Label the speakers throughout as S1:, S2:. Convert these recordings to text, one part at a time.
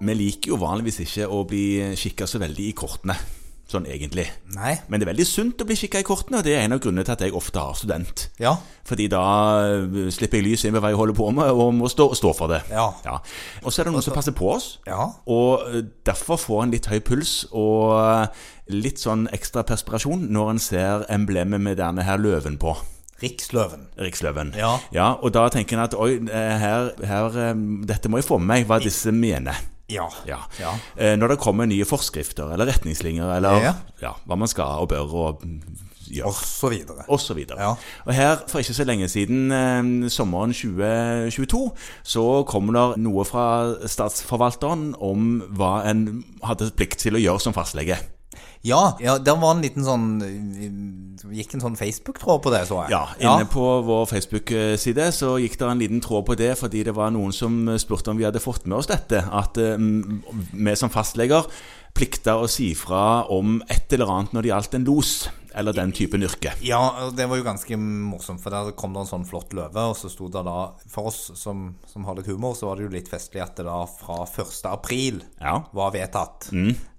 S1: Vi liker jo vanligvis ikke å bli kikka så veldig i kortene, sånn egentlig.
S2: Nei.
S1: Men det er veldig sunt å bli kikka i kortene, og det er en av grunnene til at jeg ofte har student.
S2: Ja.
S1: Fordi da eh, slipper jeg lyset inn på hva jeg holder på med, og må stå, stå for det.
S2: Ja.
S1: Og så er det noen som passer på oss,
S2: Ja.
S1: og eh, derfor får en litt høy puls og eh, litt sånn ekstra perspirasjon når en ser emblemet med denne her løven på.
S2: Riksløven.
S1: Riksløven.
S2: Ja.
S1: og da tenker en at oi, eh, her, her, eh, dette må jeg få med meg hva disse mener.
S2: Ja.
S1: Ja.
S2: Ja.
S1: Eh, Når det kommer nye forskrifter eller retningslinjer eller
S2: Ja.
S1: ja. hva man skal og bør og gjøre.
S2: Og så videre.
S1: Og, så videre.
S2: Ja.
S1: og her, for ikke så lenge siden, eh, sommeren 2022, så kom det noe fra statsforvalteren om hva en hadde plikt til å gjøre som fastlege.
S2: Ja, ja, der var en liten sånn eh, Gikk en sånn Facebook-tråd på det, så jeg.
S1: Ja, Inne på vår Facebook-side så gikk det en liten tråd på det, fordi det var noen som eh, spurte om vi hadde fått med oss dette. At eh, m- vi som fastleger plikta å si fra om et eller annet når det gjaldt en los, eller den typen yrke.
S2: Ja, og det var jo ganske morsomt, for der kom det en sånn flott løve, og så sto det da For oss som, som har litt humor, så var det jo litt festlig at det da fra 1. april
S1: Ja. Mm.
S2: var vedtatt.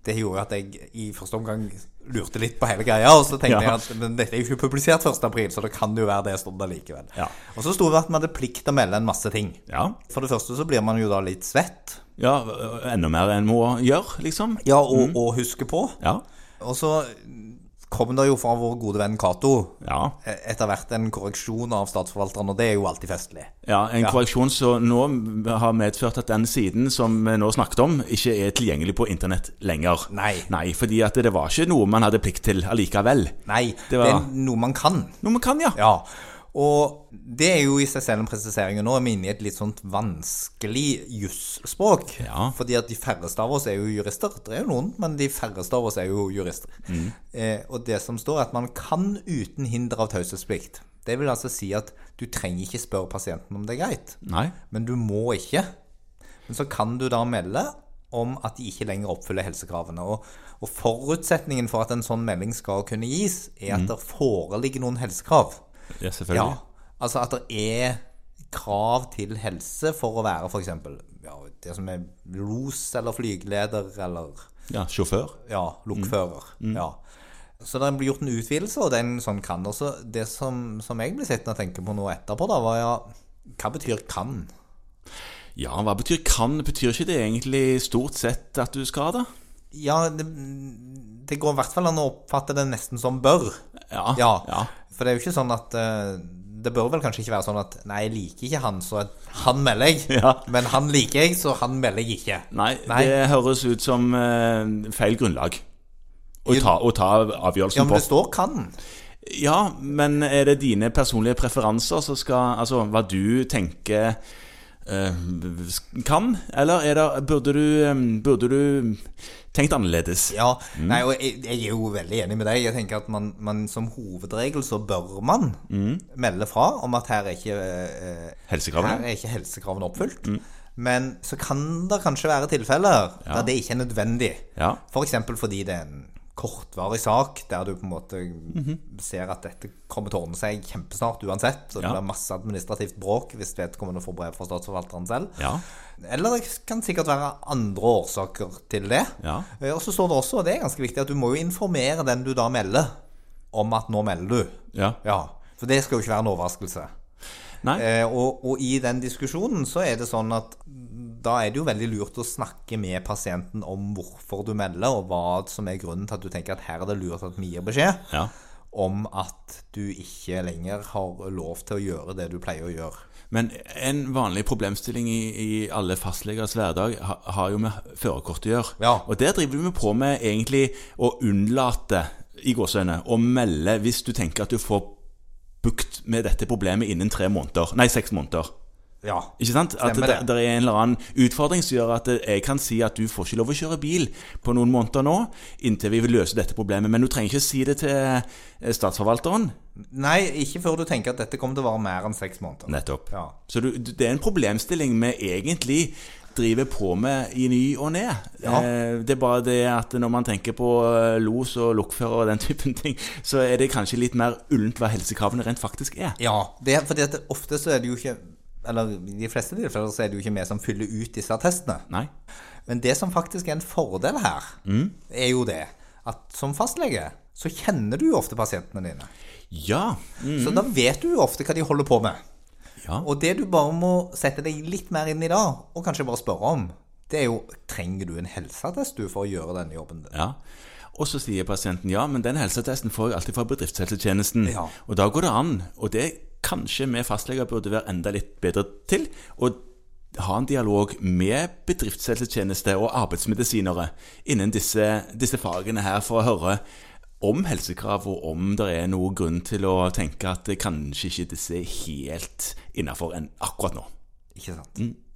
S2: Det gjorde at jeg i første omgang lurte litt på hele greia, og så tenkte
S1: Ja.
S2: jeg at men dette er jo ikke publisert 1. april, så det kan jo være det stod der likevel.
S1: Ja.
S2: Og så sto det at vi hadde plikt til å melde en masse ting.
S1: Ja,
S2: For det første så blir man jo da litt svett,
S1: ja eh, enda mer enn må gjøre, liksom.
S2: ja, og, og huske på.
S1: Ja.
S2: Mm. Og så kom det jo fra vår gode venn Cato e,
S1: Ja,
S2: etter hvert en korreksjon av statsforvalteren, og det er jo alltid festlig.
S1: ja En korreksjon som nå har medført at den siden som vi nå snakket om, ikke er tilgjengelig på internett lenger.
S2: Nei.
S1: Nei, fordi at det var ikke noe man hadde plikt til allikevel.
S2: Nei, det,
S1: Det var-
S2: er noe man kan.
S1: Noe man kan, ja.
S2: Ja. Og det er jo i seg selv en presisering, og nå er vi inne i et litt sånt vanskelig jusspråk.
S1: Ja.
S2: Fordi at de færreste av oss er jo jurister. Det er jo noen, men de færreste av oss er jo jurister. Eh, og det som står, er at man kan uten hinder av taushetsplikt. Det vil altså si at du trenger ikke spørre pasienten om det er greit.
S1: Nei.
S2: Men du må ikke. Men så kan du da melde om at de ikke lenger oppfyller helsekravene. Og, og forutsetningen for at en sånn melding skal kunne gis, er at det foreligger noen helsekrav.
S1: Ja,
S2: Ja,
S1: selvfølgelig.
S2: altså at det er krav til helse for å være f.eks. Ja, det som er los eller flygeleder eller
S1: Ja, sjåfør.
S2: ja, lokfører. Ja. Så det blir gjort en utvidelse, og den sånn kan. Og så det som, som jeg blir sittende og tenke på nå etterpå, da, var ja, hva betyr kan?
S1: Ja, hva betyr kan? Betyr ikke det egentlig stort sett at du skal det?
S2: Ja, det, det går i hvert fall an å oppfatte det nesten som bør.
S1: Ja.
S2: Ja.
S1: ja.
S2: For det er jo ikke sånn at eh, Det bør vel kanskje ikke være sånn at Nei, jeg liker ikke han, så han melder jeg.
S1: Ja.
S2: Men han liker jeg, så han melder jeg ikke.
S1: Nei,
S2: Nei.
S1: det høres ut som eh, feil grunnlag. Å ta, å ta
S2: Ja,
S1: avgjørelsen
S2: men det står kan.
S1: på. Ja, men er det dine personlige preferanser som skal Altså hva du tenker eh, kan? Eller er det, burde, du, eh, burde du tenkt annerledes?
S2: Ja, nei, og jeg, jeg er jo veldig enig med deg. Jeg tenker at man, man som hovedregel så bør man
S1: Mm.
S2: melde fra om at her er ikke eh,
S1: Helsekravene?
S2: Her er ikke helsekravene oppfylt.
S1: Mm.
S2: Men så kan det kanskje være tilfeller der det ikke er nødvendig.
S1: Ja.
S2: F.eks. fordi det er en kortvarig sak der du på en måte ser at dette kommer til å ordne seg kjempesnart uansett. Så det
S1: Ja.
S2: blir masse administrativt bråk hvis vedkommende får brev fra statsforvalteren selv.
S1: Ja.
S2: Eller det kan sikkert være andre årsaker til det.
S1: Ja.
S2: Eh, Og så står det også, og det er ganske viktig, at du må jo informere den du da melder, om at nå melder du.
S1: ja.
S2: Ja, For det skal jo ikke være en overraskelse.
S1: Nei?
S2: Eh, og, og i den diskusjonen så er det sånn at da er det jo veldig lurt å snakke med pasienten om hvorfor du melder, og hva som er grunnen til at du tenker at her er det lurt at vi gir beskjed
S1: Ja.
S2: om at du ikke lenger har lov til å gjøre det du pleier å gjøre.
S1: Men en vanlig problemstilling i, i alle fastlegers hverdag ha, har jo med førerkort å gjøre.
S2: Ja.
S1: Og der driver vi på med egentlig å unnlate i gåsøgne, å melde hvis du tenker at du får bukt med dette problemet innen tre måneder. Nei, seks måneder.
S2: Ja.
S1: Ikke sant? At
S2: Stemmer
S1: det,
S2: det.
S1: det er en eller annen utfordring som gjør at jeg kan si at du får ikke lov å kjøre bil på noen måneder nå, inntil vi vil løse dette problemet. Men du trenger ikke si det til eh, statsforvalteren.
S2: Nei, ikke før du tenker at dette kommer til å vare mer enn seks måneder.
S1: Nettopp.
S2: Ja.
S1: Så du, du- det er en problemstilling vi egentlig driver på med i ny og ne.
S2: Ja.
S1: Eh, Det er bare det at når man tenker på eh, los og lokfører og den typen ting, så er det kanskje litt mer ullent hva helsekravene rent faktisk er.
S2: Ja, det, fordi at det, ofte så er det jo ikke eller i de fleste tilfeller så er det jo ikke vi som fyller ut disse attestene.
S1: Nei.
S2: Men det som faktisk er en fordel her, er jo det at som fastlege så kjenner du jo ofte pasientene dine.
S1: Ja.
S2: Så da vet du jo ofte hva de holder på med.
S1: ja.
S2: Og det du bare må sette deg litt mer inn i da, og kanskje bare spørre om, det er jo trenger du en helseattest du for å gjøre denne jobben din?
S1: Ja. Og så sier pasienten ja, men den helseattesten får jeg alltid fra bedriftshelsetjenesten.
S2: Ja.
S1: Og da går det an, og det kanskje vi fastleger burde være enda litt bedre til, å ha en dialog med bedriftshelsetjeneste og arbeidsmedisinere innen disse, disse fagene her, for å høre om helsekrav, og om det er noen grunn til å tenke at kanskje ikke disse er helt innafor akkurat nå.
S2: Ikke sant?